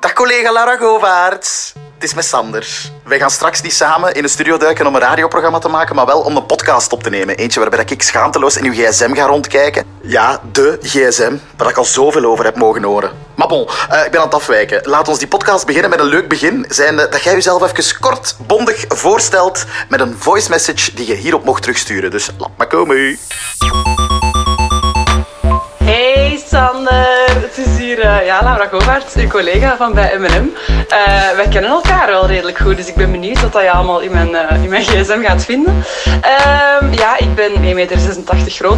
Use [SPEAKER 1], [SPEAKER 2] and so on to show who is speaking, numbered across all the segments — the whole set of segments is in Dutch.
[SPEAKER 1] Dag collega Lara Govaerts. Het is met Sander. Wij gaan straks niet samen in de studio duiken om een radioprogramma te maken, maar wel om een podcast op te nemen. Eentje waarbij ik schaamteloos in uw gsm ga rondkijken. Ja, de gsm, waar ik al zoveel over heb mogen horen. Maar bon, eh, ik ben aan het afwijken. Laat ons die podcast beginnen met een leuk begin. Zijn dat jij jezelf even kort, bondig voorstelt met een voice message die je hierop mocht terugsturen. Dus laat maar komen.
[SPEAKER 2] Hey Sander, het is hier eh, ja, Laura Govaerts, uw collega van bij M&M. Eh, wij kennen elkaar wel redelijk goed, dus ik ben benieuwd wat dat je allemaal in mijn, eh, in mijn gsm gaat vinden. Ehm, ja, ik ben 1,86 meter groot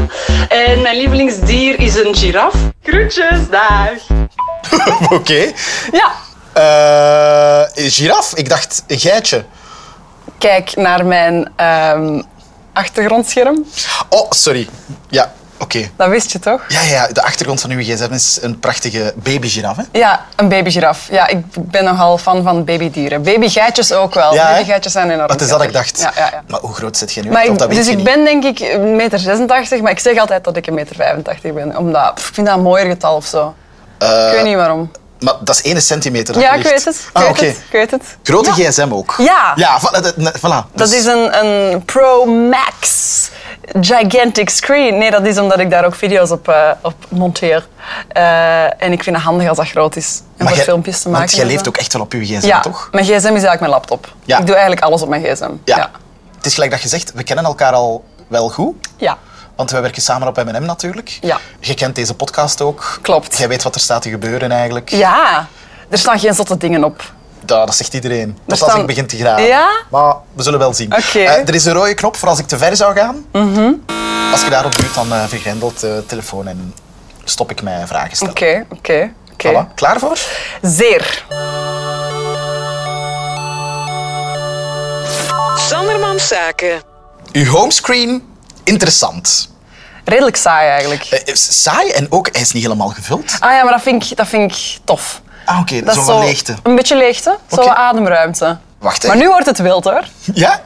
[SPEAKER 2] en mijn lievelingsdier is een giraf. Groetjes, dag!
[SPEAKER 3] Oké.
[SPEAKER 2] Ja,
[SPEAKER 3] Eh, giraf? Ik dacht geitje.
[SPEAKER 2] kijk naar mijn ehm, achtergrondscherm.
[SPEAKER 3] Oh, sorry. Ja, oké.
[SPEAKER 2] Dat wist je toch?
[SPEAKER 3] Ja, ja, de achtergrond van uw gsm is een prachtige babygiraf, hè?
[SPEAKER 2] Ja, een babygiraf. Ja, ik ben nogal fan van babydieren. Babygeitjes ook wel.
[SPEAKER 3] Ja, hè?
[SPEAKER 2] Babygeitjes zijn enorm
[SPEAKER 3] Dat is dat ik
[SPEAKER 2] schattig.
[SPEAKER 3] dacht.
[SPEAKER 2] Ja, ja, ja.
[SPEAKER 3] Maar hoe groot zit jij nu?
[SPEAKER 2] Maar
[SPEAKER 3] echt? Want
[SPEAKER 2] ik-
[SPEAKER 3] dat weet
[SPEAKER 2] dus
[SPEAKER 3] je
[SPEAKER 2] ik
[SPEAKER 3] niet.
[SPEAKER 2] ben denk ik 1,86 meter, 86, maar ik zeg altijd dat ik 1,85 meter 85 ben. Omdat, pff, ik vind dat een mooier getal of zo. ik weet niet waarom.
[SPEAKER 3] Maar Eh, dat is 1 centimeter. dat
[SPEAKER 2] Ja, ik
[SPEAKER 3] ligt.
[SPEAKER 2] weet het. Ik
[SPEAKER 3] Ah,
[SPEAKER 2] weet
[SPEAKER 3] oké.
[SPEAKER 2] het. Ik weet het.
[SPEAKER 3] Grote gsm ook.
[SPEAKER 2] Ja.
[SPEAKER 3] Ja, voilà. dat- ne- voilà.
[SPEAKER 2] Dat
[SPEAKER 3] Dus-
[SPEAKER 2] is een, een Pro Max gigantic screen. Nee, dat is omdat ik daar ook video's op, eh, op monteer. Eh, en ik vind het handig als dat groot is. En
[SPEAKER 3] Maar
[SPEAKER 2] voor
[SPEAKER 3] jij-
[SPEAKER 2] filmpjes te maken.
[SPEAKER 3] Want jij
[SPEAKER 2] en zo.
[SPEAKER 3] leeft ook echt wel op uw gsm,
[SPEAKER 2] Ja,
[SPEAKER 3] toch?
[SPEAKER 2] mijn gsm is eigenlijk mijn laptop.
[SPEAKER 3] Ja.
[SPEAKER 2] Ik doe eigenlijk alles op mijn gsm.
[SPEAKER 3] Ja.
[SPEAKER 2] Ja.
[SPEAKER 3] Het is gelijk dat je zegt, we kennen elkaar al wel goed.
[SPEAKER 2] Ja.
[SPEAKER 3] Want wij werken samen op M&M natuurlijk.
[SPEAKER 2] Ja.
[SPEAKER 3] Je kent deze podcast ook.
[SPEAKER 2] Klopt.
[SPEAKER 3] Jij weet wat er staat te gebeuren eigenlijk.
[SPEAKER 2] Ja. Er staan geen zotte dingen op.
[SPEAKER 3] Ja, dat zegt iedereen. Tot
[SPEAKER 2] staan-
[SPEAKER 3] als ik begin te graven.
[SPEAKER 2] Ja?
[SPEAKER 3] Maar we zullen wel zien.
[SPEAKER 2] Oké. Mhm.
[SPEAKER 3] Eh, er is een rode knop voor als ik te ver zou gaan. Als je daarop duwt, dan eh vergrendelt de telefoon en stop ik mij vragen stellen.
[SPEAKER 2] Oké, oké, oké.
[SPEAKER 3] Voilà. Klaar voor?
[SPEAKER 2] Zeer.
[SPEAKER 4] Sanderman Zaken.
[SPEAKER 3] Uw homescreen, interessant.
[SPEAKER 2] Redelijk saai eigenlijk.
[SPEAKER 3] Eh, is saai en ook, hij is niet helemaal gevuld.
[SPEAKER 2] Ah ja, maar dat vind ik, dat vind ik tof.
[SPEAKER 3] Ah, oké,
[SPEAKER 2] Dat
[SPEAKER 3] zo
[SPEAKER 2] is
[SPEAKER 3] van leegte.
[SPEAKER 2] Een beetje leegte, zo
[SPEAKER 3] Oké.
[SPEAKER 2] wat ademruimte.
[SPEAKER 3] Wacht, hè.
[SPEAKER 2] Maar nu wordt het wild hoor.
[SPEAKER 3] Ja?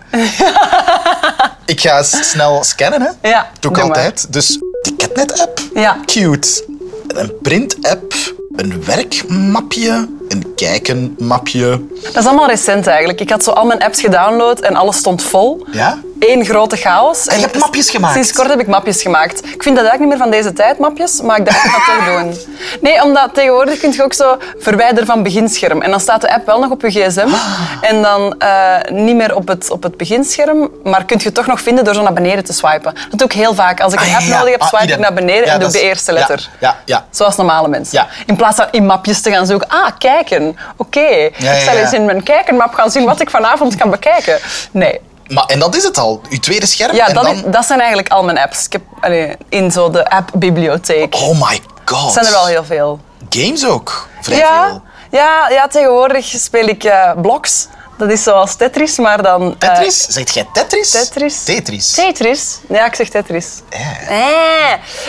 [SPEAKER 3] ik ga s- snel scannen, hè.
[SPEAKER 2] Ja,
[SPEAKER 3] Doe ik
[SPEAKER 2] doe
[SPEAKER 3] altijd. Dus Ticketnet-app.
[SPEAKER 2] Ja.
[SPEAKER 3] Cute. Een print-app. Een werkmapje. Een kijkenmapje.
[SPEAKER 2] Dat is allemaal recent eigenlijk. Ik had zo al mijn apps gedownload en alles stond vol.
[SPEAKER 3] Ja?
[SPEAKER 2] Eén grote chaos. En
[SPEAKER 3] je hebt mapjes gemaakt?
[SPEAKER 2] Sinds kort heb ik mapjes gemaakt. Ik vind dat eigenlijk niet meer van deze tijd, mapjes, maar ik dacht, ik ga het toch doen. Nee, omdat tegenwoordig kun je ook zo verwijderen van beginscherm. En dan staat de app wel nog op je gsm.
[SPEAKER 3] Ah.
[SPEAKER 2] En dan eh, niet meer op het, op het beginscherm, maar kun je het toch nog vinden door zo naar beneden te swipen. Dat doe ik heel vaak. Als ik een
[SPEAKER 3] Ah,
[SPEAKER 2] app
[SPEAKER 3] ja, ja.
[SPEAKER 2] nodig heb,
[SPEAKER 3] Ah,
[SPEAKER 2] swipe ik
[SPEAKER 3] idem.
[SPEAKER 2] naar beneden
[SPEAKER 3] Ja,
[SPEAKER 2] en doe
[SPEAKER 3] dat
[SPEAKER 2] ik de
[SPEAKER 3] is-
[SPEAKER 2] eerste
[SPEAKER 3] ja,
[SPEAKER 2] letter.
[SPEAKER 3] ja, ja.
[SPEAKER 2] Zoals normale mensen.
[SPEAKER 3] Ja.
[SPEAKER 2] In plaats van in mapjes te gaan zoeken. Ah, kijken. Oké.
[SPEAKER 3] ja,
[SPEAKER 2] Ik zal
[SPEAKER 3] ja.
[SPEAKER 2] eens in mijn kijkenmap gaan zien wat ik vanavond kan bekijken. Nee.
[SPEAKER 3] Maar, en dat is het al. Uw tweede scherm
[SPEAKER 2] Ja,
[SPEAKER 3] en
[SPEAKER 2] dat,
[SPEAKER 3] dan...
[SPEAKER 2] i- dat zijn eigenlijk al mijn apps. Ik heb allee, in zo de app-bibliotheek.
[SPEAKER 3] Oh my god.
[SPEAKER 2] Er zijn er wel heel veel.
[SPEAKER 3] Games ook. Vrij
[SPEAKER 2] Ja,
[SPEAKER 3] veel.
[SPEAKER 2] ja, ja, tegenwoordig speel ik eh blocks. Dat is zoals Tetris, maar dan... eh,
[SPEAKER 3] Tetris? Zegt jij Tetris?
[SPEAKER 2] Tetris.
[SPEAKER 3] Tetris.
[SPEAKER 2] Tetris? Ja, ik zeg Tetris.
[SPEAKER 3] Eh.
[SPEAKER 2] Eh.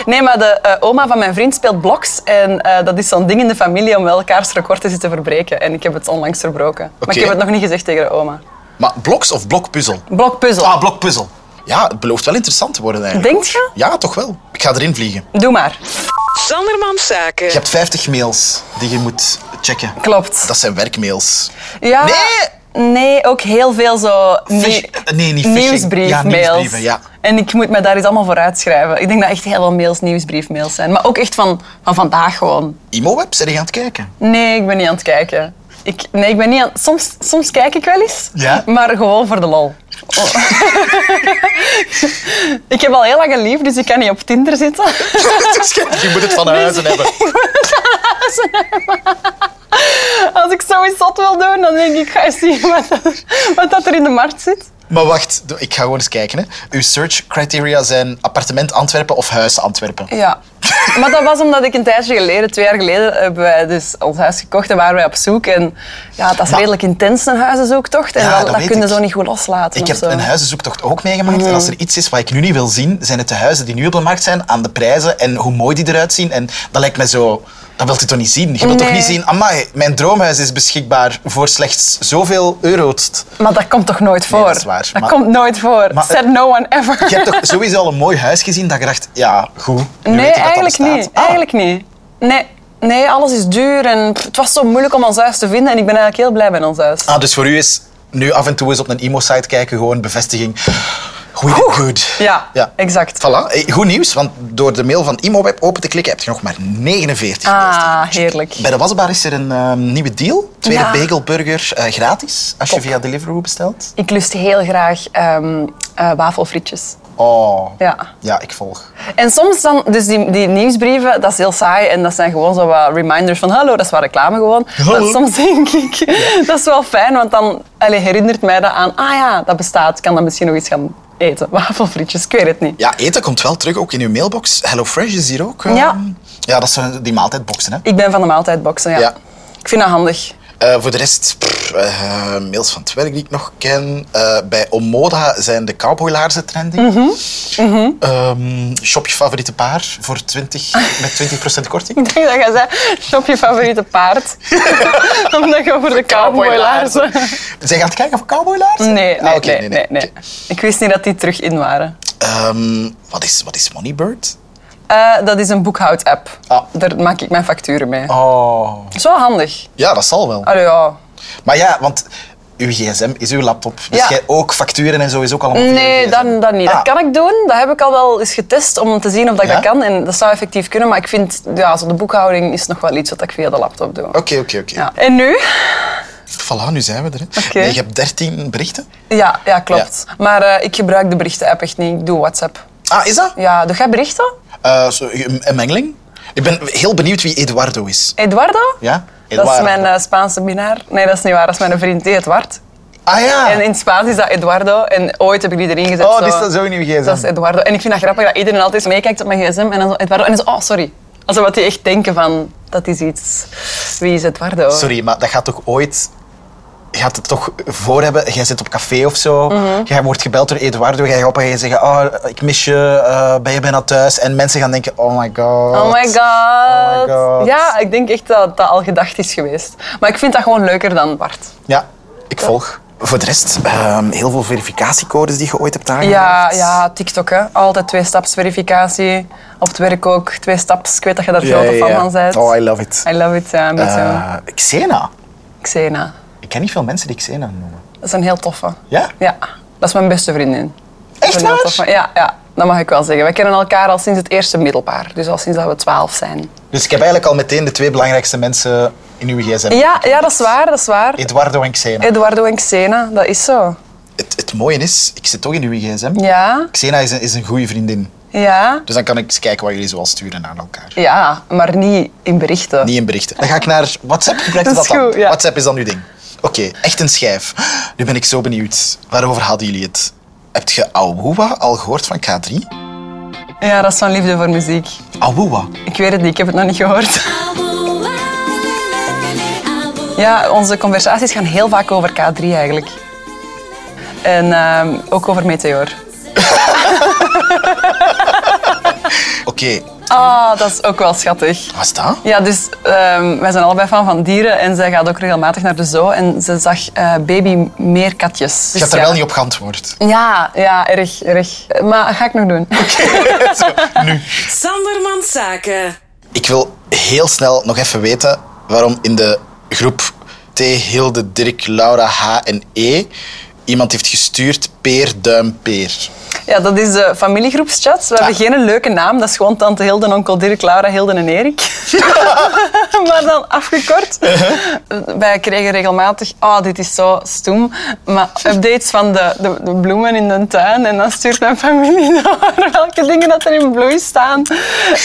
[SPEAKER 2] Nee, maar de eh, oma van mijn vriend speelt blocks. En eh, dat is zo'n ding in de familie om wel elkaars record te zitten verbreken. En ik heb het onlangs verbroken. Maar
[SPEAKER 3] Oké.
[SPEAKER 2] ik heb het nog niet gezegd tegen de oma.
[SPEAKER 3] Maar bloks of blokpuzzel?
[SPEAKER 2] Blokpuzzel.
[SPEAKER 3] Ah, blokpuzzel. Ja, het belooft wel interessant te worden eigenlijk.
[SPEAKER 2] Denkt je?
[SPEAKER 3] Ja, toch wel. Ik ga erin vliegen.
[SPEAKER 2] Doe maar.
[SPEAKER 4] Sanderman Zaken.
[SPEAKER 3] Je hebt 50 mails die je moet checken.
[SPEAKER 2] Klopt.
[SPEAKER 3] Dat zijn werkmails.
[SPEAKER 2] Ja.
[SPEAKER 3] Nee!
[SPEAKER 2] Nee, ook heel veel zo
[SPEAKER 3] Fish- eh,
[SPEAKER 2] nieuw-
[SPEAKER 3] nee, niet phishing. Ja,
[SPEAKER 2] nieuwsbriefmails.
[SPEAKER 3] nieuwsbrieven, ja.
[SPEAKER 2] En ik moet me daar eens allemaal voor uitschrijven. Ik denk dat echt heel veel mails nieuwsbriefmails zijn. Maar ook echt van, van vandaag gewoon.
[SPEAKER 3] Imo-web, zijn je aan het kijken?
[SPEAKER 2] Nee, ik ben niet aan het kijken. Ik, nee, ik ben niet aan... Soms, soms kijk ik wel eens,
[SPEAKER 3] Ja?
[SPEAKER 2] maar gewoon voor de lol. Oh. ik heb al heel lang een lief, dus ik kan niet op Tinder zitten.
[SPEAKER 3] Het is gek, je moet het van huizen hebben.
[SPEAKER 2] Als ik zoiets zot wil doen, dan denk ik, ga eens zien wat, dat- wat dat er in de markt zit.
[SPEAKER 3] Maar wacht, do- ik ga gewoon eens kijken. Hè. Uw search criteria zijn appartement Antwerpen of huis Antwerpen.
[SPEAKER 2] Ja. Maar dat was omdat ik een tijdje geleden, twee jaar geleden, hebben wij dus ons huis gekocht en waren wij op zoek. En ja, dat is
[SPEAKER 3] Maar-
[SPEAKER 2] redelijk intens, een huizenzoektocht. En
[SPEAKER 3] Ja,
[SPEAKER 2] dat,
[SPEAKER 3] dat
[SPEAKER 2] dat
[SPEAKER 3] weet
[SPEAKER 2] kun je
[SPEAKER 3] ik.
[SPEAKER 2] zo niet goed loslaten.
[SPEAKER 3] Ik
[SPEAKER 2] of
[SPEAKER 3] heb
[SPEAKER 2] zo.
[SPEAKER 3] een huizenzoektocht ook meegemaakt. En als er iets is wat ik nu niet wil zien, zijn het de huizen die nu op de markt zijn, aan de prijzen en hoe mooi die eruit zien. En dat lijkt mij zo... Dat wilt u toch niet zien? Je wilt toch
[SPEAKER 2] Nee.
[SPEAKER 3] niet zien, amai, mijn droomhuis is beschikbaar voor slechts zoveel euro's.
[SPEAKER 2] Maar dat komt toch nooit voor?
[SPEAKER 3] dat is waar. Maar-
[SPEAKER 2] komt nooit voor.
[SPEAKER 3] Maar-
[SPEAKER 2] Said no one ever.
[SPEAKER 3] Je hebt toch sowieso al een mooi huis gezien dat je dacht, ja, goed, nu
[SPEAKER 2] nee,
[SPEAKER 3] weet ik dat dat
[SPEAKER 2] eigenlijk
[SPEAKER 3] bestaat.
[SPEAKER 2] niet.
[SPEAKER 3] Ah,
[SPEAKER 2] Eigenlijk niet. Nee. Nee, alles is duur en pff, het was zo moeilijk om ons huis te vinden en ik ben eigenlijk heel blij met ons huis.
[SPEAKER 5] Ah, dus voor u is nu af en toe eens op een emo-site kijken gewoon bevestiging. We did good.
[SPEAKER 2] Ja, exact.
[SPEAKER 5] Voilà. Eh, Goed nieuws, want door de mail van ImoWeb open te klikken heb je nog maar 49 mails te
[SPEAKER 2] Ah,
[SPEAKER 5] doen.
[SPEAKER 2] heerlijk.
[SPEAKER 5] Bij de wasbaar is er een ehm, nieuwe deal. Tweede
[SPEAKER 2] Ja.
[SPEAKER 5] bagelburger eh, gratis als je via Deliveroo bestelt.
[SPEAKER 2] Ik lust heel graag ehm, eh, wafelfrietjes.
[SPEAKER 5] Oh.
[SPEAKER 2] Ja.
[SPEAKER 5] Ja, ik volg.
[SPEAKER 2] En soms dan, dus die, die nieuwsbrieven, dat is heel saai en dat zijn gewoon zo wat reminders van hallo, dat is wel reclame gewoon.
[SPEAKER 5] Hallo.
[SPEAKER 2] Maar soms denk ik, dat is wel fijn, want dan allee, herinnert mij dat aan, ah ja, dat bestaat, ik kan dan misschien nog iets gaan eten. Wafelfrietjes, ik weet het niet.
[SPEAKER 5] Ja, eten komt wel terug, ook in uw mailbox. HelloFresh is hier ook. ehm,
[SPEAKER 2] Ja.
[SPEAKER 5] Ja, dat zijn die maaltijdboxen, hè.
[SPEAKER 2] Ik ben van de maaltijdboxen, ja.
[SPEAKER 5] Ja.
[SPEAKER 2] Ik vind dat handig.
[SPEAKER 5] Eh, voor de rest, pff, eh, mails van het werk die ik nog ken. Eh, bij Omoda zijn de cowboylaarzen trending.
[SPEAKER 2] Mhm.
[SPEAKER 5] Ehm, shop je favoriete paar voor 20, met 20% korting.
[SPEAKER 2] Ik denk dat jij zei, shop je favoriete paard. Omdat je voor de cowboylaarzen...
[SPEAKER 5] Zijn je aan het kijken voor cowboylaarzen?
[SPEAKER 2] Nee,
[SPEAKER 5] Ah,
[SPEAKER 2] nee,
[SPEAKER 5] oké,
[SPEAKER 2] nee, nee, nee.
[SPEAKER 5] oké.
[SPEAKER 2] Ik wist niet dat die terug in waren.
[SPEAKER 5] Ehm, wat, is, wat is Moneybird?
[SPEAKER 2] Eh, dat is een boekhoudapp.
[SPEAKER 5] Ah.
[SPEAKER 2] Daar maak ik mijn facturen mee.
[SPEAKER 5] Oh.
[SPEAKER 2] Zo handig.
[SPEAKER 5] Ja, dat zal wel.
[SPEAKER 2] Allee, ja.
[SPEAKER 5] Maar ja, want uw gsm is uw laptop. Dus
[SPEAKER 2] Ja.
[SPEAKER 5] jij ook facturen en zo is ook allemaal via
[SPEAKER 2] Nee,
[SPEAKER 5] uw
[SPEAKER 2] dan,
[SPEAKER 5] GSM.
[SPEAKER 2] dan niet.
[SPEAKER 5] Ah.
[SPEAKER 2] Dat kan ik doen. Dat heb ik al wel eens getest om te zien of dat ik
[SPEAKER 5] Ja?
[SPEAKER 2] dat kan. En dat zou effectief kunnen. Maar ik vind, ja, zo de boekhouding is nog wel iets wat ik via de laptop doe.
[SPEAKER 5] Oké, oké, oké.
[SPEAKER 2] Ja. En nu?
[SPEAKER 5] Voilà, nu zijn we er. hè.
[SPEAKER 2] Oké.
[SPEAKER 5] Nee, je hebt 13 berichten.
[SPEAKER 2] Ja, ja klopt. Maar eh, ik gebruik de berichten-app echt niet. Ik doe WhatsApp.
[SPEAKER 5] Ah, is dat?
[SPEAKER 2] Ja, doe jij berichten?
[SPEAKER 5] Eh, zo, een, een mengeling? Ik ben heel benieuwd wie Eduardo is.
[SPEAKER 2] Eduardo?
[SPEAKER 5] Ja?
[SPEAKER 2] Dat is
[SPEAKER 5] Eduardo.
[SPEAKER 2] mijn eh, Spaanse minnaar. Nee, dat is niet waar. Dat is mijn vriend Eduard.
[SPEAKER 5] Ah ja.
[SPEAKER 2] En in het Spaans is dat Eduardo. En ooit heb ik die erin gezet.
[SPEAKER 5] Oh, die staat zo in uw gsm.
[SPEAKER 2] Dat is Eduardo. En ik vind dat grappig dat iedereen altijd meekijkt op mijn gsm. En dan zo Eduardo. En dan zo, oh, sorry. Alsof wat die echt denken van, dat is iets... Wie is Eduardo?
[SPEAKER 5] Sorry, maar dat gaat toch ooit... Je gaat het toch voor hebben. Jij zit op café of zo.
[SPEAKER 2] Mhm.
[SPEAKER 5] Jij wordt gebeld door Eduardo. Jij gaat op en je zeggen, oh, ik mis je. eh, ben je bijna thuis? En mensen gaan denken, oh my god.
[SPEAKER 2] Oh my, god.
[SPEAKER 5] Oh my god.
[SPEAKER 2] Ja, ik denk echt dat dat al gedacht is geweest. Maar ik vind dat gewoon leuker dan Bart.
[SPEAKER 5] Ja, ik volg. Voor de rest, ehm, heel veel verificatiecodes die je ooit hebt
[SPEAKER 2] Ja,
[SPEAKER 5] aangemaakt.
[SPEAKER 2] ja, TikTok, hè. Altijd twee-staps-verificatie. Op het werk ook, twee staps. Ik weet dat je daar
[SPEAKER 5] Ja,
[SPEAKER 2] grote
[SPEAKER 5] ja,
[SPEAKER 2] fan
[SPEAKER 5] ja.
[SPEAKER 2] van bent.
[SPEAKER 5] Oh, I love it.
[SPEAKER 2] I love it, ja, me too.
[SPEAKER 5] Eh, Xena.
[SPEAKER 2] Xena.
[SPEAKER 5] Ik ken niet veel mensen die Xena noemen.
[SPEAKER 2] Dat is een heel toffe.
[SPEAKER 5] Ja?
[SPEAKER 2] Ja, dat is mijn beste vriendin.
[SPEAKER 5] Echt
[SPEAKER 2] Een heel
[SPEAKER 5] waar?
[SPEAKER 2] toffe- Ja, ja, dat mag ik wel zeggen. We kennen elkaar al sinds het eerste middelbaar. Dus al sinds dat we twaalf zijn.
[SPEAKER 5] Dus ik heb eigenlijk al meteen de twee belangrijkste mensen in uw gsm.
[SPEAKER 2] Ja, ja, dat is waar, dat is waar.
[SPEAKER 5] Eduardo en Xena.
[SPEAKER 2] Eduardo en Xena, dat is zo.
[SPEAKER 5] Het, het mooie is, ik zit toch in uw gsm.
[SPEAKER 2] Ja,
[SPEAKER 5] Xena is een, is een goede vriendin.
[SPEAKER 2] ja.
[SPEAKER 5] Dus dan kan ik eens kijken wat jullie zoal sturen aan elkaar.
[SPEAKER 2] Ja, maar niet in berichten.
[SPEAKER 5] Niet in berichten. Dan ga ik naar WhatsApp. Hoe blijkt dat,
[SPEAKER 2] Dat is
[SPEAKER 5] dan?
[SPEAKER 2] goed, ja.
[SPEAKER 5] WhatsApp is dan uw ding. Oké, echt een schijf. Nu ben ik zo benieuwd. Waarover hadden jullie het? Heb je Awoewa al gehoord van K3?
[SPEAKER 2] Ja, dat is zo'n liefde voor muziek.
[SPEAKER 5] Awoewa.
[SPEAKER 2] Ik weet het niet, ik heb het nog niet gehoord. Ja, onze conversaties gaan heel vaak over K3 eigenlijk. En ehm, ook over Meteor.
[SPEAKER 5] Oké,
[SPEAKER 2] Ah, dat is ook wel schattig.
[SPEAKER 5] wat is dat?
[SPEAKER 2] Ja, dus ehm, wij zijn allebei fan van dieren en zij gaat ook regelmatig naar de zoo en ze zag eh baby meerkatjes.
[SPEAKER 5] Je
[SPEAKER 2] Dus
[SPEAKER 5] hebt er
[SPEAKER 2] ja.
[SPEAKER 5] wel niet op geantwoord.
[SPEAKER 2] Ja, ja, erg, erg. Eh, Maar dat ga ik nog doen.
[SPEAKER 4] Sandermans Zaken.
[SPEAKER 5] Ik wil heel snel nog even weten waarom in de groep T, Hilde, Dirk, Laura, H en E iemand heeft gestuurd peer, duim, peer.
[SPEAKER 2] Ja, dat is de familiegroepschat. We hebben geen leuke naam. Dat is gewoon tante Hilde, onkel Dirk, Laura, Hilde en Erik. maar dan afgekort.
[SPEAKER 5] Uh-huh.
[SPEAKER 2] Wij kregen regelmatig... Oh, dit is zo stoem. Maar updates van de, de, de bloemen in de tuin. En dan stuurt mijn familie door welke dingen dat er in bloei staan.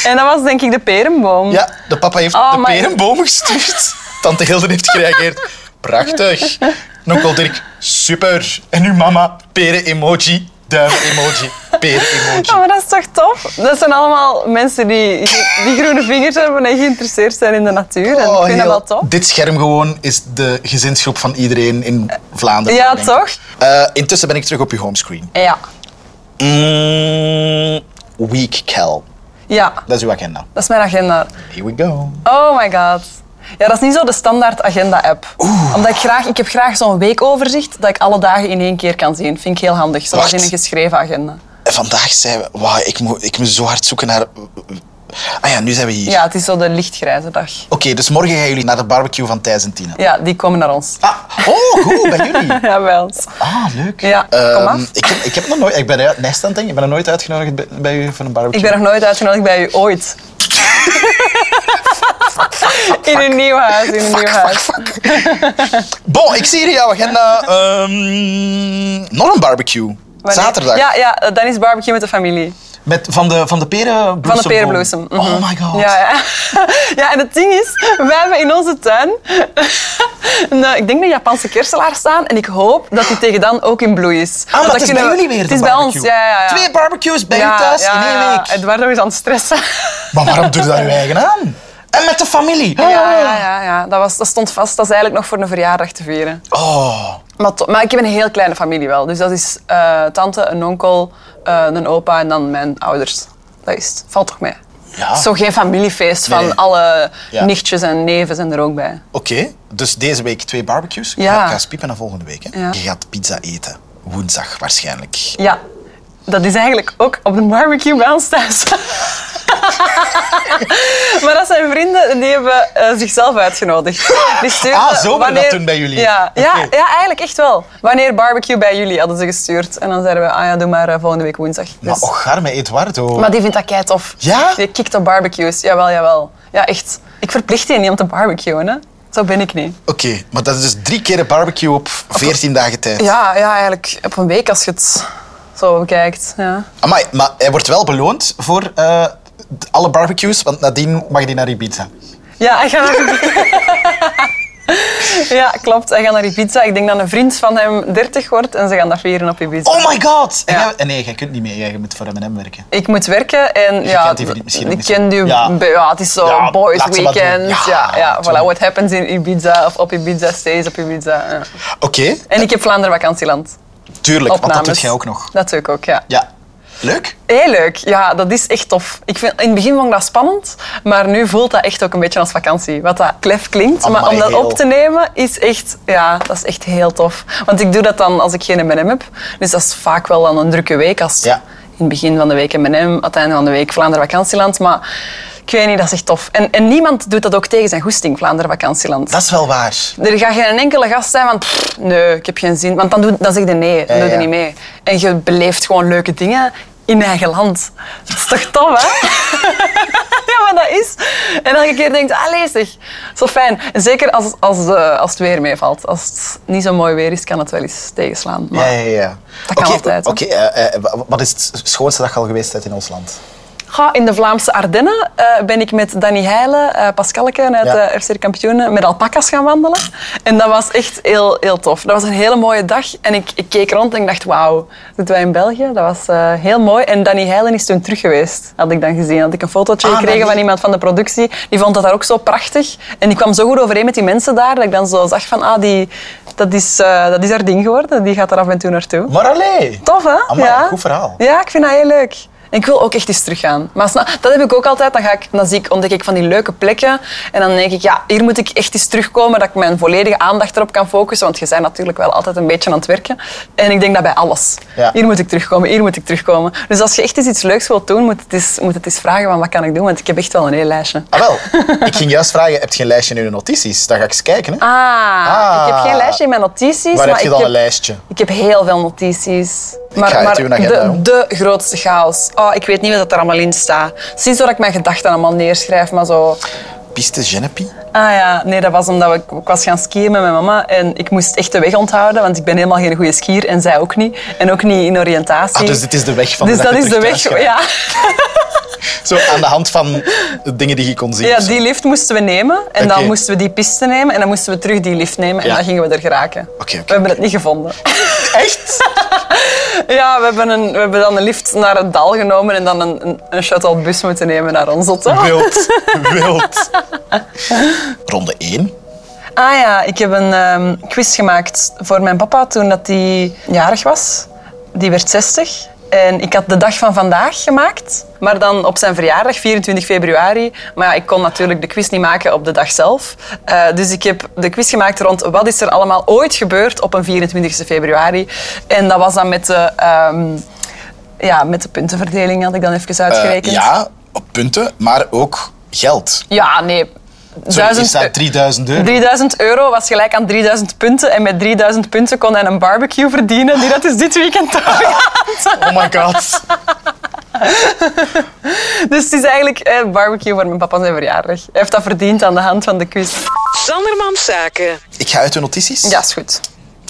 [SPEAKER 2] En dat was denk ik de perenboom.
[SPEAKER 5] Ja, de papa heeft
[SPEAKER 2] Oh,
[SPEAKER 5] de
[SPEAKER 2] maar-
[SPEAKER 5] perenboom gestuurd. Tante Hilde heeft gereageerd. Prachtig. En onkel Dirk, super. En uw mama, peren-emoji, duim-emoji,
[SPEAKER 2] Ja,
[SPEAKER 5] peren-emoji.
[SPEAKER 2] maar dat is toch tof? Dat zijn allemaal mensen die, die groene vingers hebben en geïnteresseerd zijn in de natuur. En ik vind
[SPEAKER 5] Oh, heel-
[SPEAKER 2] dat wel tof.
[SPEAKER 5] Dit scherm gewoon is de gezinsgroep van iedereen in Vlaanderen.
[SPEAKER 2] Ja,
[SPEAKER 5] denk ik.
[SPEAKER 2] toch?
[SPEAKER 5] Eh, intussen ben ik terug op uw homescreen.
[SPEAKER 2] Ja.
[SPEAKER 5] Mm, week Cal.
[SPEAKER 2] Ja,
[SPEAKER 5] Dat is uw agenda.
[SPEAKER 2] dat is mijn agenda.
[SPEAKER 5] Here we go.
[SPEAKER 2] Oh my god. Ja, dat is niet zo de standaard agenda-app. Omdat ik graag, ik heb graag zo'n weekoverzicht dat ik alle dagen in één keer kan zien. Vind ik heel handig, zoals
[SPEAKER 5] Wacht.
[SPEAKER 2] in een geschreven agenda.
[SPEAKER 5] En vandaag zijn we... Wauw, ik moet, ik moet zo hard zoeken naar Ah ja, nu zijn we hier.
[SPEAKER 2] Ja, het is zo de lichtgrijze dag.
[SPEAKER 5] Oké, dus morgen gaan jullie naar de barbecue van Thijs en Tina.
[SPEAKER 2] Ja, die komen naar ons.
[SPEAKER 5] Ah, oh, goed, bij jullie.
[SPEAKER 2] Jawel.
[SPEAKER 5] Ah, leuk.
[SPEAKER 2] Ja, kom
[SPEAKER 5] Ehm,
[SPEAKER 2] af.
[SPEAKER 5] Ik heb, ik heb nog nooit... Ik ben uit Nijstanting. Ik ben nog nooit uitgenodigd bij, bij u voor een barbecue.
[SPEAKER 2] Ik ben nog nooit uitgenodigd bij u, ooit. In een nieuw huis, in een nieuw huis.
[SPEAKER 5] Bon, ik zie hier in jouw agenda ehm, nog een barbecue.
[SPEAKER 2] Wanneer-
[SPEAKER 5] Zaterdag.
[SPEAKER 2] Ja, ja, dan is barbecue met de familie.
[SPEAKER 5] Met, van de, van de perenbloesem.
[SPEAKER 2] Van de perenbloesem. Mhm.
[SPEAKER 5] Oh my god.
[SPEAKER 2] Ja, ja. ja, en het ding is, wij hebben in onze tuin een, eh, ik denk een Japanse kerselaar staan. En ik hoop dat die tegen dan ook in bloei is. Want
[SPEAKER 5] Ah, maar
[SPEAKER 2] dan
[SPEAKER 5] het is bij
[SPEAKER 2] kunnen we-
[SPEAKER 5] jullie weer
[SPEAKER 2] Het
[SPEAKER 5] de
[SPEAKER 2] is bij ons,
[SPEAKER 5] barbecue.
[SPEAKER 2] ja. ja, ja.
[SPEAKER 5] Twee barbecues bij
[SPEAKER 2] Ja,
[SPEAKER 5] u thuis
[SPEAKER 2] ja,
[SPEAKER 5] in één
[SPEAKER 2] ja.
[SPEAKER 5] week. Oh.
[SPEAKER 2] Eduardo is aan het stressen.
[SPEAKER 5] Maar waarom doe je daar je eigen aan? En met de familie.
[SPEAKER 2] Ja, ja, ja, ja. Dat, was, dat stond vast. Dat is eigenlijk nog voor een verjaardag te vieren.
[SPEAKER 5] Oh.
[SPEAKER 2] Maar, to- maar ik heb een heel kleine familie wel. Dus dat is eh, tante, een onkel, eh, een opa en dan mijn ouders. Dat is het. Valt toch mee?
[SPEAKER 5] Ja.
[SPEAKER 2] Zo geen familiefeest van
[SPEAKER 5] Nee.
[SPEAKER 2] alle
[SPEAKER 5] Ja.
[SPEAKER 2] nichtjes en neven zijn er ook bij.
[SPEAKER 5] Oké, dus deze week twee barbecues.
[SPEAKER 2] Ja.
[SPEAKER 5] Ik ga- ik ga spiepen naar volgende week. Hè?
[SPEAKER 2] Ja. Dus-
[SPEAKER 5] Je gaat pizza eten. Woensdag waarschijnlijk.
[SPEAKER 2] Ja, dat is eigenlijk ook op de barbecue bij ons thuis. maar dat zijn vrienden en die hebben eh, zichzelf uitgenodigd. Die stuurden
[SPEAKER 5] Ah, zo werd dat toen bij jullie?
[SPEAKER 2] Ja, ja,
[SPEAKER 5] Oké.
[SPEAKER 2] ja, eigenlijk echt wel. Wanneer barbecue bij jullie hadden ze gestuurd. En dan zeiden we, ah ja, doe maar eh, volgende week woensdag.
[SPEAKER 5] Maar
[SPEAKER 2] Dus-
[SPEAKER 5] och, garme Eduardo.
[SPEAKER 2] Maar die vindt dat kei tof.
[SPEAKER 5] Ja?
[SPEAKER 2] Die kikt op barbecues. Jawel, jawel. Ja, echt. Ik verplicht je niet om te barbecuen, hè. Zo ben ik niet.
[SPEAKER 5] Oké, maar dat is dus drie keer een barbecue op 14 dagen tijd.
[SPEAKER 2] Ja, ja, eigenlijk op een week als je het zo bekijkt. Ja.
[SPEAKER 5] Amai, maar hij wordt wel beloond voor eh, alle barbecues, want nadien mag hij naar Ibiza.
[SPEAKER 2] Ja, hij gaat naar Ja, klopt. Hij gaat naar Ibiza. Ik denk dat een vriend van hem 30 wordt en ze gaan dat vieren op Ibiza.
[SPEAKER 5] Oh my god! En
[SPEAKER 2] Ja.
[SPEAKER 5] jij- en nee, jij kunt niet mee. Jij moet voor M&M werken.
[SPEAKER 2] Ik moet werken en ja,
[SPEAKER 5] kent die vriend misschien ook
[SPEAKER 2] ik
[SPEAKER 5] misschien.
[SPEAKER 2] ken die,
[SPEAKER 5] Ja.
[SPEAKER 2] ja. het is zo
[SPEAKER 5] Ja,
[SPEAKER 2] boys
[SPEAKER 5] laat ze maar doen.
[SPEAKER 2] weekend.
[SPEAKER 5] Ja,
[SPEAKER 2] Ja, ja,
[SPEAKER 5] natuurlijk.
[SPEAKER 2] voilà, what happens in Ibiza of op Ibiza stays op Ibiza. ja.
[SPEAKER 5] Oké,
[SPEAKER 2] En ik heb Vlaanderen vakantieland.
[SPEAKER 5] tuurlijk,
[SPEAKER 2] Opnames.
[SPEAKER 5] want dat doet jij ook nog.
[SPEAKER 2] Dat doe ik ook, ja.
[SPEAKER 5] Ja. Leuk.
[SPEAKER 2] Heel leuk. Ja, dat is echt tof. Ik vind, in het begin vond ik dat spannend, maar nu voelt dat echt ook een beetje als vakantie. Wat dat klef klinkt, maar
[SPEAKER 5] Amai,
[SPEAKER 2] om dat
[SPEAKER 5] heel.
[SPEAKER 2] op te nemen is echt, ja, dat is echt heel tof. Want ik doe dat dan als ik geen M&M heb. Dus dat is vaak wel dan een drukke week als
[SPEAKER 5] Ja.
[SPEAKER 2] in het begin van de week M&M, aan het einde van de week Vlaanderen vakantieland. Maar ik weet niet, dat is echt tof. En, en niemand doet dat ook tegen zijn goesting, Vlaanderen vakantieland.
[SPEAKER 5] Dat is wel waar.
[SPEAKER 2] Er gaat geen enkele gast zijn van, "Pff, nee, ik heb geen zin. Want dan, doe, dan zeg je nee, dan
[SPEAKER 5] Ja,
[SPEAKER 2] doe je
[SPEAKER 5] ja.
[SPEAKER 2] niet mee. En je beleeft gewoon leuke dingen in eigen land. Dat is toch tof, hè? ja, maar dat is. En elke keer denkt, allee zeg, zo fijn. En zeker als, als, eh, als het weer meevalt. Als het niet zo mooi weer is, kan het wel eens tegenslaan. Maar
[SPEAKER 5] Ja, ja, ja.
[SPEAKER 2] Dat kan
[SPEAKER 5] Oké,
[SPEAKER 2] altijd, hè.
[SPEAKER 5] Oké, eh, eh, wa- wat is het schoonste dat je al geweest bent in ons land?
[SPEAKER 2] Ga in de Vlaamse Ardennen eh, ben ik met Danny Heijlen, eh Pascalke uit
[SPEAKER 5] Ja.
[SPEAKER 2] de FC de Kampioenen, met alpaca's gaan wandelen. En dat was echt heel, heel tof. Dat was een hele mooie dag. En ik, ik keek rond en ik dacht, wauw, dit wij in België. Dat was eh, heel mooi. En Danny Heijlen is toen terug geweest, had ik dan gezien. Had ik een fotootje
[SPEAKER 5] Ah,
[SPEAKER 2] gekregen
[SPEAKER 5] Danny.
[SPEAKER 2] van iemand van de productie. Die vond dat daar ook zo prachtig. En die kwam zo goed overeen met die mensen daar, dat ik dan zo zag van, ah, die, dat, is, eh, dat is haar ding geworden. Die gaat er af en toe naartoe.
[SPEAKER 5] Maar allee!
[SPEAKER 2] Tof, hè?
[SPEAKER 5] Amai, goed verhaal.
[SPEAKER 2] Ja, ik vind dat heel leuk. En ik wil ook echt eens teruggaan. Maar sna- dat heb ik ook altijd. Dan, ga ik, dan zie ik, ontdek ik van die leuke plekken. En dan denk ik, ja, hier moet ik echt eens terugkomen. Dat ik mijn volledige aandacht erop kan focussen. Want je bent natuurlijk wel altijd een beetje aan het werken. En ik denk dat bij alles.
[SPEAKER 5] Ja.
[SPEAKER 2] Hier moet ik terugkomen, hier moet ik terugkomen. Dus als je echt eens iets leuks wilt doen, moet het eens, moet het eens vragen van wat kan ik doen. Want ik heb echt wel een heel lijstje.
[SPEAKER 5] Ah wel, ik ging juist vragen, heb je een lijstje in je notities? Dan ga ik eens kijken. Hè.
[SPEAKER 2] Ah,
[SPEAKER 5] Ah.
[SPEAKER 2] ik heb geen lijstje in mijn notities.
[SPEAKER 5] Waar
[SPEAKER 2] maar
[SPEAKER 5] heb je
[SPEAKER 2] ik
[SPEAKER 5] dan
[SPEAKER 2] heb-
[SPEAKER 5] een lijstje?
[SPEAKER 2] Ik heb heel veel notities. Maar,
[SPEAKER 5] ga uit
[SPEAKER 2] maar
[SPEAKER 5] uw agenda,
[SPEAKER 2] de,
[SPEAKER 5] hoor.
[SPEAKER 2] de grootste chaos. Oh, ik weet niet wat er allemaal in staat. Sinds dat ik mijn gedachten allemaal neerschrijf, maar zo...
[SPEAKER 5] Piste Genepi?
[SPEAKER 2] Ah ja, nee, dat was omdat ik, ik was gaan skiën met mijn mama en ik moest echt de weg onthouden, want ik ben helemaal geen goede skier en zij ook niet. En ook niet in oriëntatie.
[SPEAKER 5] Ah, dus dit is de weg van
[SPEAKER 2] Dus
[SPEAKER 5] de
[SPEAKER 2] dat
[SPEAKER 5] je
[SPEAKER 2] is de
[SPEAKER 5] terug
[SPEAKER 2] weg,
[SPEAKER 5] thuis
[SPEAKER 2] ja.
[SPEAKER 5] geraakt. Zo aan de hand van de dingen die je kon zien.
[SPEAKER 2] Ja, die lift moesten we nemen. En
[SPEAKER 5] Oké.
[SPEAKER 2] dan moesten we die piste nemen. En dan moesten we terug die lift nemen. En
[SPEAKER 5] Ja.
[SPEAKER 2] dan gingen we er geraken.
[SPEAKER 5] Oké, oké,
[SPEAKER 2] we hebben het niet gevonden.
[SPEAKER 5] Echt?
[SPEAKER 2] Ja, we hebben, een, we hebben dan een lift naar het dal genomen en dan een, een, een shuttlebus moeten nemen naar ons hotel.
[SPEAKER 5] Wild, wild. Ronde 1.
[SPEAKER 2] Ah ja, ik heb een ehm, quiz gemaakt voor mijn papa toen dat hij jarig was. Die werd 60. En ik had de dag van vandaag gemaakt, maar dan op zijn verjaardag, 24 februari. Maar ja, ik kon natuurlijk de quiz niet maken op de dag zelf. Eh, dus ik heb de quiz gemaakt rond wat is er allemaal ooit gebeurd op een 24 februari. En dat was dan met de, ehm, ja, met de puntenverdeling, had ik dan even uitgerekend.
[SPEAKER 5] Eh, ja, op punten, maar ook geld.
[SPEAKER 2] Ja, nee.
[SPEAKER 5] Sorry, is
[SPEAKER 2] Duizend-
[SPEAKER 5] dat 3000 euro?
[SPEAKER 2] 3000 euro was gelijk aan 3000 punten. En met 3000 punten kon hij een barbecue verdienen. Die dat is dit weekend doorgaat.
[SPEAKER 5] Oh my god.
[SPEAKER 2] Dus het is eigenlijk eh, barbecue voor mijn papa zijn verjaardag. Hij heeft dat verdiend aan de hand van de quiz.
[SPEAKER 4] Sanderman Zaken.
[SPEAKER 5] Ik ga uit de notities.
[SPEAKER 2] Ja, is goed.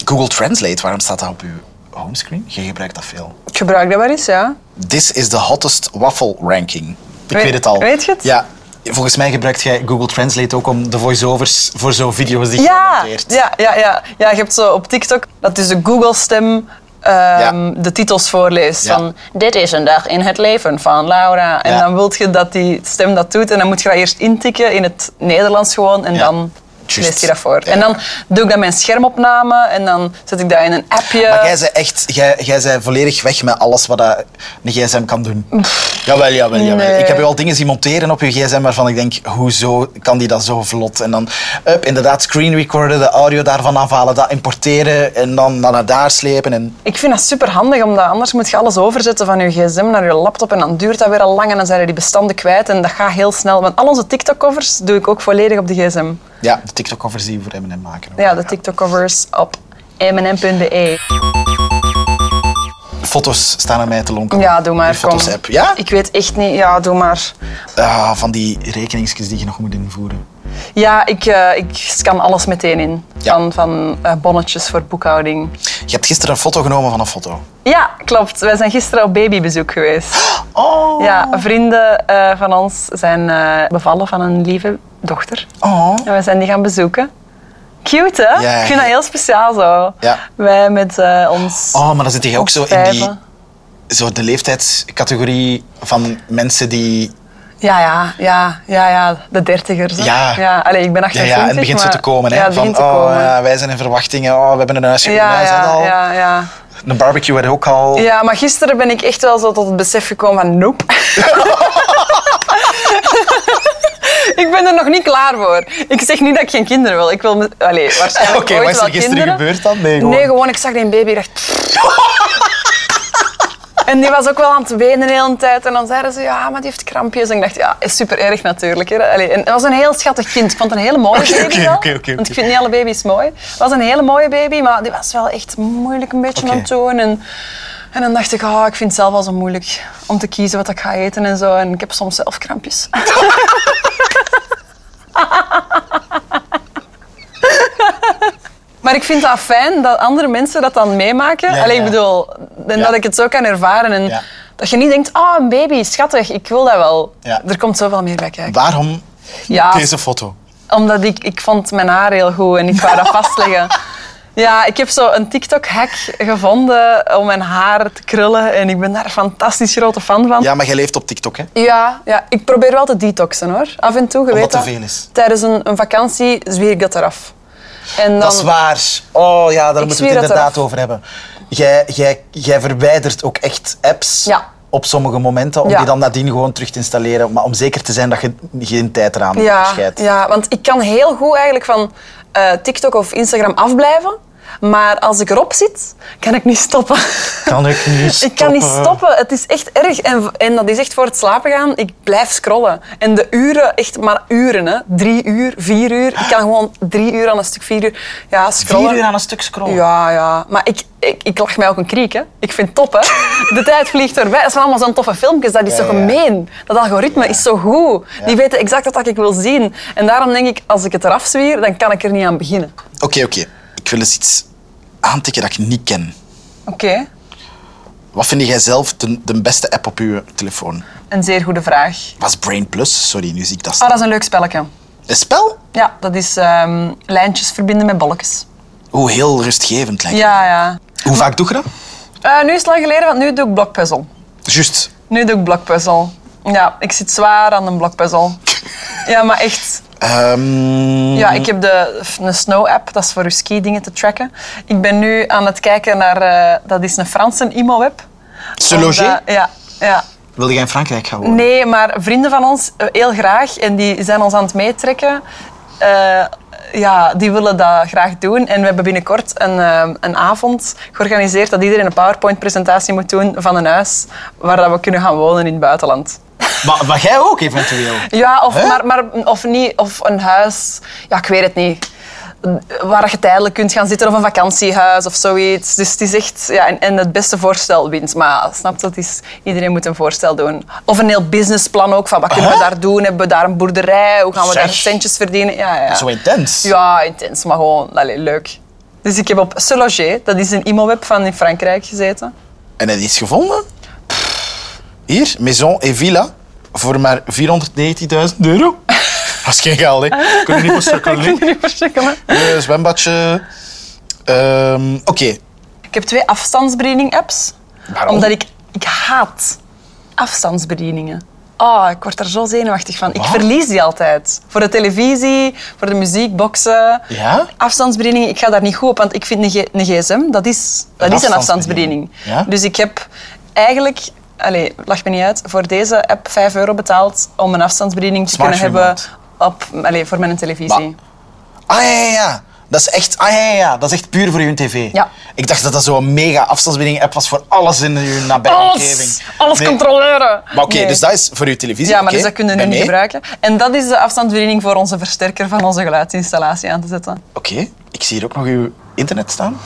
[SPEAKER 5] Google Translate, waarom staat dat op uw homescreen? Je gebruikt dat veel.
[SPEAKER 2] Ik gebruik dat wel eens, ja.
[SPEAKER 5] This is the hottest waffle ranking. Ik
[SPEAKER 2] Weet-
[SPEAKER 5] weet het al.
[SPEAKER 2] weet je het?
[SPEAKER 5] Ja. Volgens mij gebruikt jij Google Translate ook om de voiceovers voor zo'n video's die je
[SPEAKER 2] Ja,
[SPEAKER 5] monteert.
[SPEAKER 2] ja, ja, ja. ja, je hebt zo op TikTok dat dus de Google-stem ehm, de titels voorleest.
[SPEAKER 5] Ja.
[SPEAKER 2] Van, dit is een dag in het leven van Laura. En
[SPEAKER 5] Ja.
[SPEAKER 2] dan wil je dat die stem dat doet. En dan moet je dat eerst intikken in het Nederlands gewoon. En
[SPEAKER 5] Ja.
[SPEAKER 2] dan
[SPEAKER 5] Juist.
[SPEAKER 2] leest hij dat voor.
[SPEAKER 5] Ja.
[SPEAKER 2] En dan doe ik dat mijn schermopname. En dan zet ik dat in een appje.
[SPEAKER 5] Maar jij zei echt, jij, jij zei volledig weg met alles wat dat een gsm kan doen. jawel, jawel, jawel.
[SPEAKER 2] nee.
[SPEAKER 5] Ik heb je al dingen zien monteren op je gsm waarvan ik denk, hoezo kan die dat zo vlot? En dan up, inderdaad screen recorden, de audio daarvan afhalen, dat importeren en dan naar daar slepen. En
[SPEAKER 2] Ik vind dat super handig, omdat anders moet je alles overzetten van je gsm naar je laptop. En dan duurt dat weer al lang en dan zijn er die bestanden kwijt. En dat gaat heel snel. Want al onze TikTok-covers doe ik ook volledig op de gsm.
[SPEAKER 5] ja, de TikTok-covers die we voor M&M maken. ook.
[SPEAKER 2] Ja, de TikTok-covers op mnm.be.
[SPEAKER 5] Foto's staan aan mij te lonken.
[SPEAKER 2] Ja, doe maar.
[SPEAKER 5] Die foto's
[SPEAKER 2] kom.
[SPEAKER 5] app. Ja?
[SPEAKER 2] Ik weet echt niet. Ja, doe maar.
[SPEAKER 5] Ah, van die rekeningsjes die je nog moet invoeren.
[SPEAKER 2] Ja, ik, eh, ik scan alles meteen in.
[SPEAKER 5] Ja.
[SPEAKER 2] Van, van eh, bonnetjes voor boekhouding.
[SPEAKER 5] Je hebt gisteren een foto genomen van een foto.
[SPEAKER 2] Ja, klopt. Wij zijn gisteren op babybezoek geweest.
[SPEAKER 5] Oh.
[SPEAKER 2] Ja, vrienden eh, van ons zijn eh, bevallen van een lieve dochter.
[SPEAKER 5] Oh.
[SPEAKER 2] En we zijn die gaan bezoeken. Cute, hè?
[SPEAKER 5] Ja.
[SPEAKER 2] Ik vind dat heel speciaal zo.
[SPEAKER 5] Ja.
[SPEAKER 2] Wij met eh, ons...
[SPEAKER 5] Oh, maar dan zit je ook zo in die,
[SPEAKER 2] vijven.
[SPEAKER 5] zo de leeftijdscategorie van mensen die...
[SPEAKER 2] Ja, ja, ja, ja, ja, de dertigers. hè.
[SPEAKER 5] Ja.
[SPEAKER 2] ja. Allee, ik ben
[SPEAKER 5] Ja,
[SPEAKER 2] 28,
[SPEAKER 5] ja, het begint
[SPEAKER 2] maar-
[SPEAKER 5] zo te komen. Hè,
[SPEAKER 2] Ja, het
[SPEAKER 5] van,
[SPEAKER 2] begint te
[SPEAKER 5] oh,
[SPEAKER 2] komen.
[SPEAKER 5] ja, wij zijn in verwachtingen. Oh, we hebben een huisje.
[SPEAKER 2] Ja,
[SPEAKER 5] gedaan, is dat
[SPEAKER 2] ja,
[SPEAKER 5] al?
[SPEAKER 2] ja, ja.
[SPEAKER 5] Een barbecue werd ook al...
[SPEAKER 2] Ja, maar gisteren ben ik echt wel zo tot het besef gekomen van nope. ik ben er nog niet klaar voor. Ik zeg niet dat ik geen kinderen wil. Ik wil... me- Allee,
[SPEAKER 5] Oké,
[SPEAKER 2] waarschijnlijk ooit
[SPEAKER 5] wat is
[SPEAKER 2] wel
[SPEAKER 5] er gisteren
[SPEAKER 2] kinderen.
[SPEAKER 5] gebeurd dan? Nee, gewoon.
[SPEAKER 2] Nee, gewoon, ik zag die baby en dacht... pff. En die was ook wel aan het wenen de hele tijd. En dan zeiden ze, ja, maar die heeft krampjes. En ik dacht, ja, is super erg natuurlijk. Hè. Allee, en het was een heel schattig kind. Ik vond het een hele mooie
[SPEAKER 5] Oké,
[SPEAKER 2] baby
[SPEAKER 5] oké,
[SPEAKER 2] wel.
[SPEAKER 5] oké, oké,
[SPEAKER 2] Want ik
[SPEAKER 5] oké.
[SPEAKER 2] vind niet alle baby's mooi. Het was een hele mooie baby, maar die was wel echt moeilijk een beetje
[SPEAKER 5] Oké.
[SPEAKER 2] aan het doen. En, en dan dacht ik, ah, ik vind het zelf wel zo moeilijk om te kiezen wat ik ga eten en zo. En ik heb soms zelf krampjes. Maar ik vind dat fijn dat andere mensen dat dan meemaken.
[SPEAKER 5] Ja,
[SPEAKER 2] Allee,
[SPEAKER 5] ja.
[SPEAKER 2] ik bedoel, en
[SPEAKER 5] Ja.
[SPEAKER 2] dat ik het zo kan ervaren. En
[SPEAKER 5] Ja.
[SPEAKER 2] dat je niet denkt, ah, een baby, schattig, ik wil dat wel.
[SPEAKER 5] Ja.
[SPEAKER 2] Er komt zoveel meer bij kijken.
[SPEAKER 5] Waarom
[SPEAKER 2] Ja,
[SPEAKER 5] deze foto?
[SPEAKER 2] omdat ik, ik vond mijn haar heel goed en ik wou dat vastleggen. Ja, ik heb zo een TikTok-hack gevonden om mijn haar te krullen. En ik ben daar een fantastisch grote fan van.
[SPEAKER 5] Ja, maar jij leeft op TikTok, hè?
[SPEAKER 2] Ja, ja, ik probeer wel te detoxen hoor. Af en toe, je
[SPEAKER 5] Omdat
[SPEAKER 2] weet
[SPEAKER 5] het
[SPEAKER 2] dat.
[SPEAKER 5] te veel is.
[SPEAKER 2] Tijdens een, een vakantie zwier ik dat eraf. En dan,
[SPEAKER 5] Dat is waar. Oh ja, daar moeten we
[SPEAKER 2] zweer
[SPEAKER 5] het
[SPEAKER 2] het
[SPEAKER 5] inderdaad
[SPEAKER 2] eraf.
[SPEAKER 5] over hebben. Jij, jij, jij verwijdert ook echt apps
[SPEAKER 2] Ja.
[SPEAKER 5] op sommige momenten om
[SPEAKER 2] Ja.
[SPEAKER 5] die dan nadien gewoon terug te installeren. Maar om zeker te zijn dat je geen tijd eraan
[SPEAKER 2] ja,
[SPEAKER 5] scheidt.
[SPEAKER 2] ja, want ik kan heel goed eigenlijk van eh, TikTok of Instagram afblijven. Maar als ik erop zit, kan ik niet stoppen.
[SPEAKER 5] Kan ik niet
[SPEAKER 2] Ik kan niet
[SPEAKER 5] Eh, stoppen.
[SPEAKER 2] stoppen. Het is echt erg. En, en dat is echt voor het slapen gaan. Ik blijf scrollen. En de uren, echt maar uren. Hè. Drie uur, vier uur. Ik kan gewoon drie uur aan een stuk, vier uur ja, scrollen.
[SPEAKER 5] Vier uur aan een stuk scrollen.
[SPEAKER 2] Ja, ja. Maar ik, ik, ik lach mij ook een kriek, hè. Ik vind het top, hè. De tijd vliegt voorbij. Het zijn allemaal zo'n toffe filmpjes. Dat is zo
[SPEAKER 5] ja.
[SPEAKER 2] gemeen. Dat algoritme is zo goed. Die weten exact wat dat ik wil zien. En daarom denk ik, als ik het eraf zwier, dan kan ik er niet aan beginnen.
[SPEAKER 5] Oké, oké. Ik wil eens iets aantikken dat ik niet ken.
[SPEAKER 2] Oké.
[SPEAKER 5] Wat vind jij zelf de, de beste app op je telefoon?
[SPEAKER 2] Een zeer goede vraag.
[SPEAKER 5] Was Brain Plus? Sorry, nu zie ik dat
[SPEAKER 2] Ah,
[SPEAKER 5] staan.
[SPEAKER 2] dat is een leuk spelletje.
[SPEAKER 5] Een spel?
[SPEAKER 2] Ja, dat is ehm, lijntjes verbinden met bolletjes.
[SPEAKER 5] Oeh, heel rustgevend lijkt
[SPEAKER 2] Ja, ja.
[SPEAKER 5] me. Hoe vaak doe je dat?
[SPEAKER 2] Eh, nu is het lang geleden, want nu doe ik blokpuzzel.
[SPEAKER 5] Juist.
[SPEAKER 2] Nu doe ik blokpuzzel. Ja, ik zit zwaar aan een blokpuzzel. Ja, maar echt.
[SPEAKER 5] Ehm,
[SPEAKER 2] Ja, ik heb de, een snow-app, dat is voor je ski-dingen te tracken. Ik ben nu aan het kijken naar, eh, dat is een Franse imo-web.
[SPEAKER 5] Se loger?
[SPEAKER 2] Omdat- Ja, ja.
[SPEAKER 5] Wil jij in Frankrijk gaan wonen?
[SPEAKER 2] Nee, maar vrienden van ons eh, heel graag en die zijn ons aan het meetrekken. Eh, ja, die willen dat graag doen. En we hebben binnenkort een, eh, een avond georganiseerd dat iedereen een PowerPoint-presentatie moet doen van een huis waar dat we kunnen gaan wonen in het buitenland.
[SPEAKER 5] Maar, maar jij ook eventueel.
[SPEAKER 2] Ja, of,
[SPEAKER 5] Hè?
[SPEAKER 2] maar, maar, of, niet, of een huis. Ja, ik weet het niet. Waar je tijdelijk kunt gaan zitten of een vakantiehuis of zoiets. Dus het is echt... Ja, en, en het beste voorstel wint. Maar snap je, het is, iedereen moet een voorstel doen. Of een heel businessplan ook. Van wat kunnen we
[SPEAKER 5] Hè?
[SPEAKER 2] daar doen? Hebben we daar een boerderij? Hoe gaan we daar
[SPEAKER 5] Zeg.
[SPEAKER 2] centjes verdienen? Ja, ja.
[SPEAKER 5] Zo intens.
[SPEAKER 2] Ja, intens, maar gewoon allee, leuk. Dus ik heb op Se Loger, dat is een imoweb van in Frankrijk, gezeten.
[SPEAKER 5] En het is gevonden. Hier, Maison et Villa. Voor maar 490.000 euro. Dat is geen geld, hè. Kun je niet voor
[SPEAKER 2] Ik
[SPEAKER 5] sukkelen.
[SPEAKER 2] kan er niet voor schrikken, hè.
[SPEAKER 5] hè. Eh, Zwembadje. Ehm, Oké.
[SPEAKER 2] Ik heb twee afstandsbediening-apps.
[SPEAKER 5] Waarom?
[SPEAKER 2] Omdat ik, ik haat afstandsbedieningen. Ah, ik word daar zo zenuwachtig van. Ik
[SPEAKER 5] Wat?
[SPEAKER 2] verlies die altijd. Voor de televisie, voor de muziek, boksen.
[SPEAKER 5] Ja?
[SPEAKER 2] Afstandsbedieningen, ik ga daar niet goed op, want ik vind een, g- een gsm, dat is, dat is een afstandsbediening.
[SPEAKER 5] Ja?
[SPEAKER 2] Dus ik heb eigenlijk, allez, lach me niet uit, voor deze app 5 euro betaald om een afstandsbediening te
[SPEAKER 5] Smart
[SPEAKER 2] kunnen hebben
[SPEAKER 5] remote.
[SPEAKER 2] op, allez, voor mijn televisie.
[SPEAKER 5] Maar- Ah ja, ja, ja. Dat is echt, ah, ja, ja, ja. Dat is echt puur voor je tv.
[SPEAKER 2] Ja.
[SPEAKER 5] Ik dacht dat dat zo'n mega afstandsbediening app was voor alles in je nabije
[SPEAKER 2] alles,
[SPEAKER 5] omgeving.
[SPEAKER 2] alles
[SPEAKER 5] Nee.
[SPEAKER 2] controleren.
[SPEAKER 5] Maar oké,
[SPEAKER 2] Nee.
[SPEAKER 5] dus dat is voor je televisie.
[SPEAKER 2] Ja, maar
[SPEAKER 5] oké,
[SPEAKER 2] dus dat kunnen we
[SPEAKER 5] ben
[SPEAKER 2] nu niet
[SPEAKER 5] mee.
[SPEAKER 2] gebruiken. En dat is de afstandsbediening voor onze versterker van onze geluidsinstallatie aan te zetten.
[SPEAKER 5] Oké, ik zie hier ook nog uw internet staan.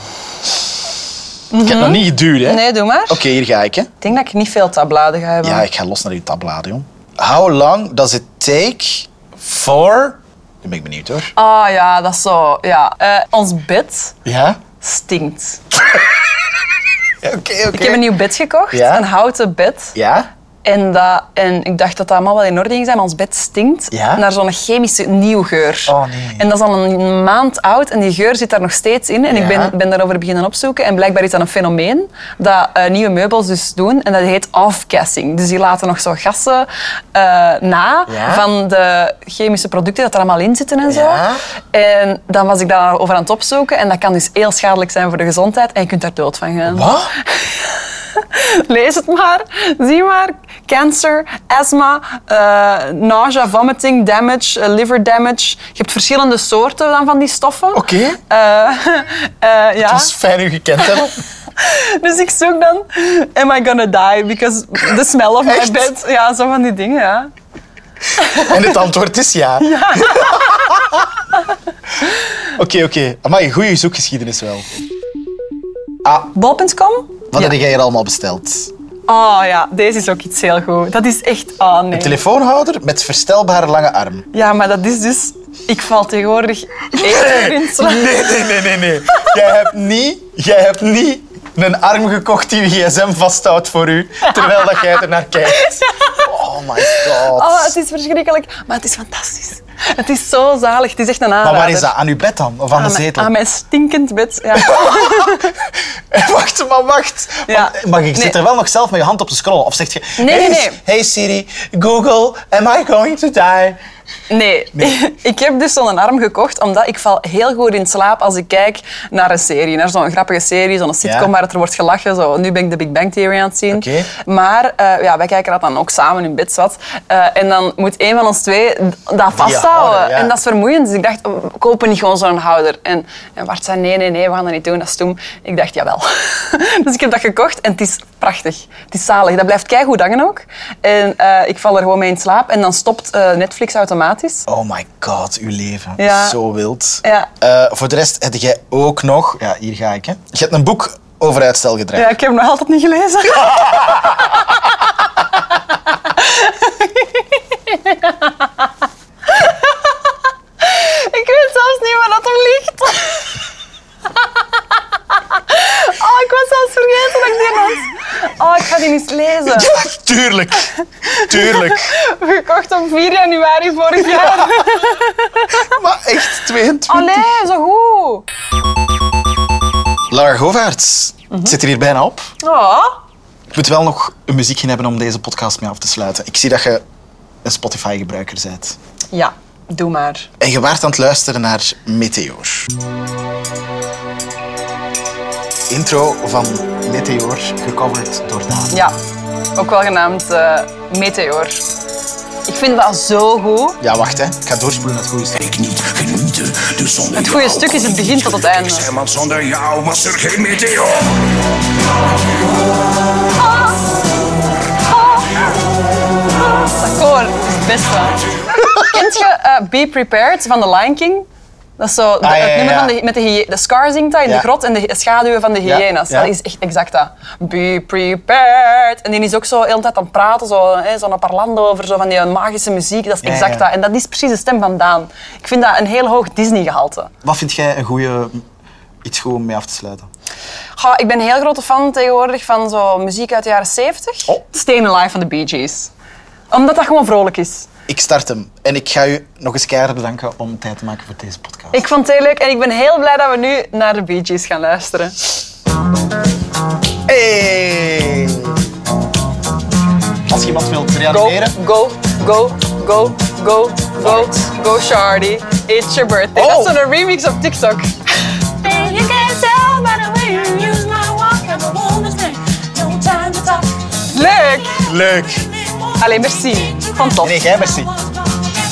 [SPEAKER 5] Ik heb het nog niet geduwd, hè?
[SPEAKER 2] Mhm. Nee, dus- doe maar.
[SPEAKER 5] Oké, hier ga ik, hè.
[SPEAKER 2] Ik denk dat ik niet veel tabbladen ga hebben.
[SPEAKER 5] Ja, ik ga los naar uw tabbladen, jong. How long does it take for... Nu ben ik benieuwd, hoor.
[SPEAKER 2] Ah ja, dat is zo. Ja. Eh, ons bed
[SPEAKER 5] Ja?
[SPEAKER 2] stinkt.
[SPEAKER 5] Ja, Oké, oké.
[SPEAKER 2] Ik heb een nieuw bed gekocht,
[SPEAKER 5] Ja.
[SPEAKER 2] een houten bed.
[SPEAKER 5] Ja?
[SPEAKER 2] En, dat, en ik dacht dat dat allemaal wel in orde ging zijn, maar ons bed stinkt
[SPEAKER 5] Ja?
[SPEAKER 2] naar zo'n chemische nieuwgeur.
[SPEAKER 5] Oh, nee.
[SPEAKER 2] En dat is al een maand oud en die geur zit daar nog steeds in. En
[SPEAKER 5] Ja.
[SPEAKER 2] ik ben, ben daarover beginnen opzoeken. En blijkbaar is dat een fenomeen dat eh, nieuwe meubels dus doen. En dat heet off-gassing. Dus die laten nog zo gassen eh, na
[SPEAKER 5] Ja.
[SPEAKER 2] van de chemische producten dat er allemaal in zitten en zo.
[SPEAKER 5] Ja.
[SPEAKER 2] En dan was ik daarover aan het opzoeken. En dat kan dus heel schadelijk zijn voor de gezondheid. En je kunt daar dood van gaan.
[SPEAKER 5] Wat?
[SPEAKER 2] Lees het maar. Zie maar. Cancer, astma, eh, nausea, vomiting, damage, eh, liver damage. Je hebt verschillende soorten dan van die stoffen.
[SPEAKER 5] Oké.
[SPEAKER 2] Eh, eh, ja.
[SPEAKER 5] Het was fijn u gekend te hebben.
[SPEAKER 2] Dus ik zoek dan, am I gonna die because the smell of my
[SPEAKER 5] Echt?
[SPEAKER 2] bed. Ja, zo van die dingen, ja.
[SPEAKER 5] En het antwoord is ja. Oké, oké. Maar een goede zoekgeschiedenis wel.
[SPEAKER 2] Bol.com?
[SPEAKER 5] Wat heb jij hier allemaal besteld?
[SPEAKER 2] Oh ja, deze is ook iets heel goed. Dat is echt, oh nee.
[SPEAKER 5] Telefoonhouder met verstelbare lange arm.
[SPEAKER 2] Ja, maar dat is dus, ik val tegenwoordig eerder in slaap.
[SPEAKER 5] Nee, nee, nee, nee, nee. Jij hebt niet, jij hebt niet een arm gekocht die je gsm vasthoudt voor u, terwijl dat jij er naar kijkt. Oh my god.
[SPEAKER 2] Oh, het is verschrikkelijk, maar het is fantastisch. Het is zo zalig. Het is echt een aanrader.
[SPEAKER 5] Maar waar is dat? Aan uw bed dan? Of aan,
[SPEAKER 2] Aan,
[SPEAKER 5] de
[SPEAKER 2] mijn-
[SPEAKER 5] zetel?
[SPEAKER 2] aan mijn stinkend bed. Ja.
[SPEAKER 5] Eh, Wacht, maar wacht.
[SPEAKER 2] Ja.
[SPEAKER 5] Want- Maar je zit
[SPEAKER 2] Nee.
[SPEAKER 5] er wel nog zelf met je hand op te scrollen. Of zeg je...
[SPEAKER 2] Nee, nee,
[SPEAKER 5] "Hey,
[SPEAKER 2] nee.
[SPEAKER 5] Hey Siri, Google, am I going to die?
[SPEAKER 2] Nee, ik heb dus zo'n arm gekocht omdat ik val heel goed in slaap als ik kijk naar een serie. Naar zo'n grappige serie, zo'n sitcom
[SPEAKER 5] Ja.
[SPEAKER 2] waar het er wordt gelachen. Zo, nu ben ik de Big Bang Theory aan het zien.
[SPEAKER 5] Oké.
[SPEAKER 2] Maar eh, ja, wij kijken dat dan ook samen in bed zat. Eh, en dan moet een van ons twee dat vasthouden.
[SPEAKER 5] houden, ja.
[SPEAKER 2] En dat is vermoeiend. Dus ik dacht, we kopen niet gewoon zo'n houder. En, en Bart zei, nee, nee, nee, we gaan dat niet doen, dat is toen. Ik dacht, jawel. dus ik heb dat gekocht en het is prachtig. Het is zalig. Dat blijft keigoed hangen ook. En eh, ik val er gewoon mee in slaap. En dan stopt eh, Netflix automatisch.
[SPEAKER 5] Oh my god, uw leven.
[SPEAKER 2] Ja.
[SPEAKER 5] Zo wild.
[SPEAKER 2] Ja.
[SPEAKER 5] Eh, voor de rest heb jij ook nog... Ja, hier ga ik. Hè. Je hebt een boek over uitstelgedrag.
[SPEAKER 2] Ja, ik heb hem nog altijd niet gelezen. ik weet zelfs niet waar dat hem ligt. oh, ik was zelfs vergeten dat ik die had. Oh, ik ga die eens lezen.
[SPEAKER 5] Tuurlijk. Tuurlijk.
[SPEAKER 2] Gekocht op 4 januari vorig jaar.
[SPEAKER 5] maar echt 22.
[SPEAKER 2] Oh nee, zo goed.
[SPEAKER 5] Lara Govaerts
[SPEAKER 2] Mhm.
[SPEAKER 5] het zit er hier bijna op.
[SPEAKER 2] Oh.
[SPEAKER 5] Ik moet wel nog een muziekje hebben om deze podcast mee af te sluiten. Ik zie dat je een Spotify-gebruiker bent.
[SPEAKER 2] Ja, doe maar.
[SPEAKER 5] En je waart aan het luisteren naar Meteor. Intro van Meteor, gecoverd door Daan.
[SPEAKER 2] Ja, ook wel genaamd eh, Meteor. Ik vind dat zo goed.
[SPEAKER 5] Ja, wacht hè. Ik ga doorspoelen naar het goede stuk.
[SPEAKER 6] ik niet genieten. Dus zonder
[SPEAKER 2] Het goede
[SPEAKER 6] jou
[SPEAKER 2] stuk is het
[SPEAKER 6] kon ik
[SPEAKER 2] begin
[SPEAKER 6] niet
[SPEAKER 2] tot het
[SPEAKER 6] gelukkig
[SPEAKER 2] einde.
[SPEAKER 6] zijn, want zonder jou was er geen meteor.
[SPEAKER 2] Dat Best wel. Kent je eh, Be Prepared van The Lion King? Dat is zo, de-
[SPEAKER 5] Ah, ja, ja,
[SPEAKER 2] het nummer
[SPEAKER 5] ja.
[SPEAKER 2] van de, met de, hyë- de Scar zingt dat in
[SPEAKER 5] Ja.
[SPEAKER 2] de grot en de hy- schaduwen van de
[SPEAKER 5] Ja,
[SPEAKER 2] hyena's.
[SPEAKER 5] ja.
[SPEAKER 2] Dat is echt exact dat. Be prepared. En die is ook zo de hele tijd aan het praten, zo, hè, zo'n parlando over zo van die magische muziek. Dat is
[SPEAKER 5] ja,
[SPEAKER 2] exact
[SPEAKER 5] ja.
[SPEAKER 2] dat. En dat is precies de stem van Daan. Ik vind dat een heel hoog Disney-gehalte.
[SPEAKER 5] Wat vind jij een goede, iets goed om mee af te sluiten?
[SPEAKER 2] Goh, ik ben een heel grote fan tegenwoordig van zo muziek uit de jaren 70.
[SPEAKER 5] Oh.
[SPEAKER 2] Stayin' Alive van de Bee Gees. Omdat dat gewoon vrolijk is.
[SPEAKER 5] Ik start hem. En ik ga u nog eens keihard bedanken om tijd te maken voor deze podcast.
[SPEAKER 2] Ik vond het heel leuk en ik ben heel blij dat we nu naar de Bee Gees gaan luisteren.
[SPEAKER 5] Hey! Als je iemand wilt
[SPEAKER 2] Go,
[SPEAKER 5] reanimeren...
[SPEAKER 2] go, go, go, go, go, go, Shardy. It's your birthday.
[SPEAKER 5] Oh.
[SPEAKER 2] Dat is zo'n remix op TikTok.
[SPEAKER 7] You can't tell by the way you use my walk I'm a woman's man. No time to talk.
[SPEAKER 2] Leuk!
[SPEAKER 5] Leuk.
[SPEAKER 2] Allee, merci. Van top.
[SPEAKER 5] Nee, jij merci.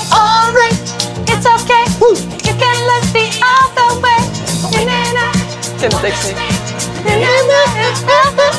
[SPEAKER 7] Alright, it's okay. You can look the other way. Na, na, na.
[SPEAKER 2] Ik ken de tekst niet.
[SPEAKER 7] Na, na, na.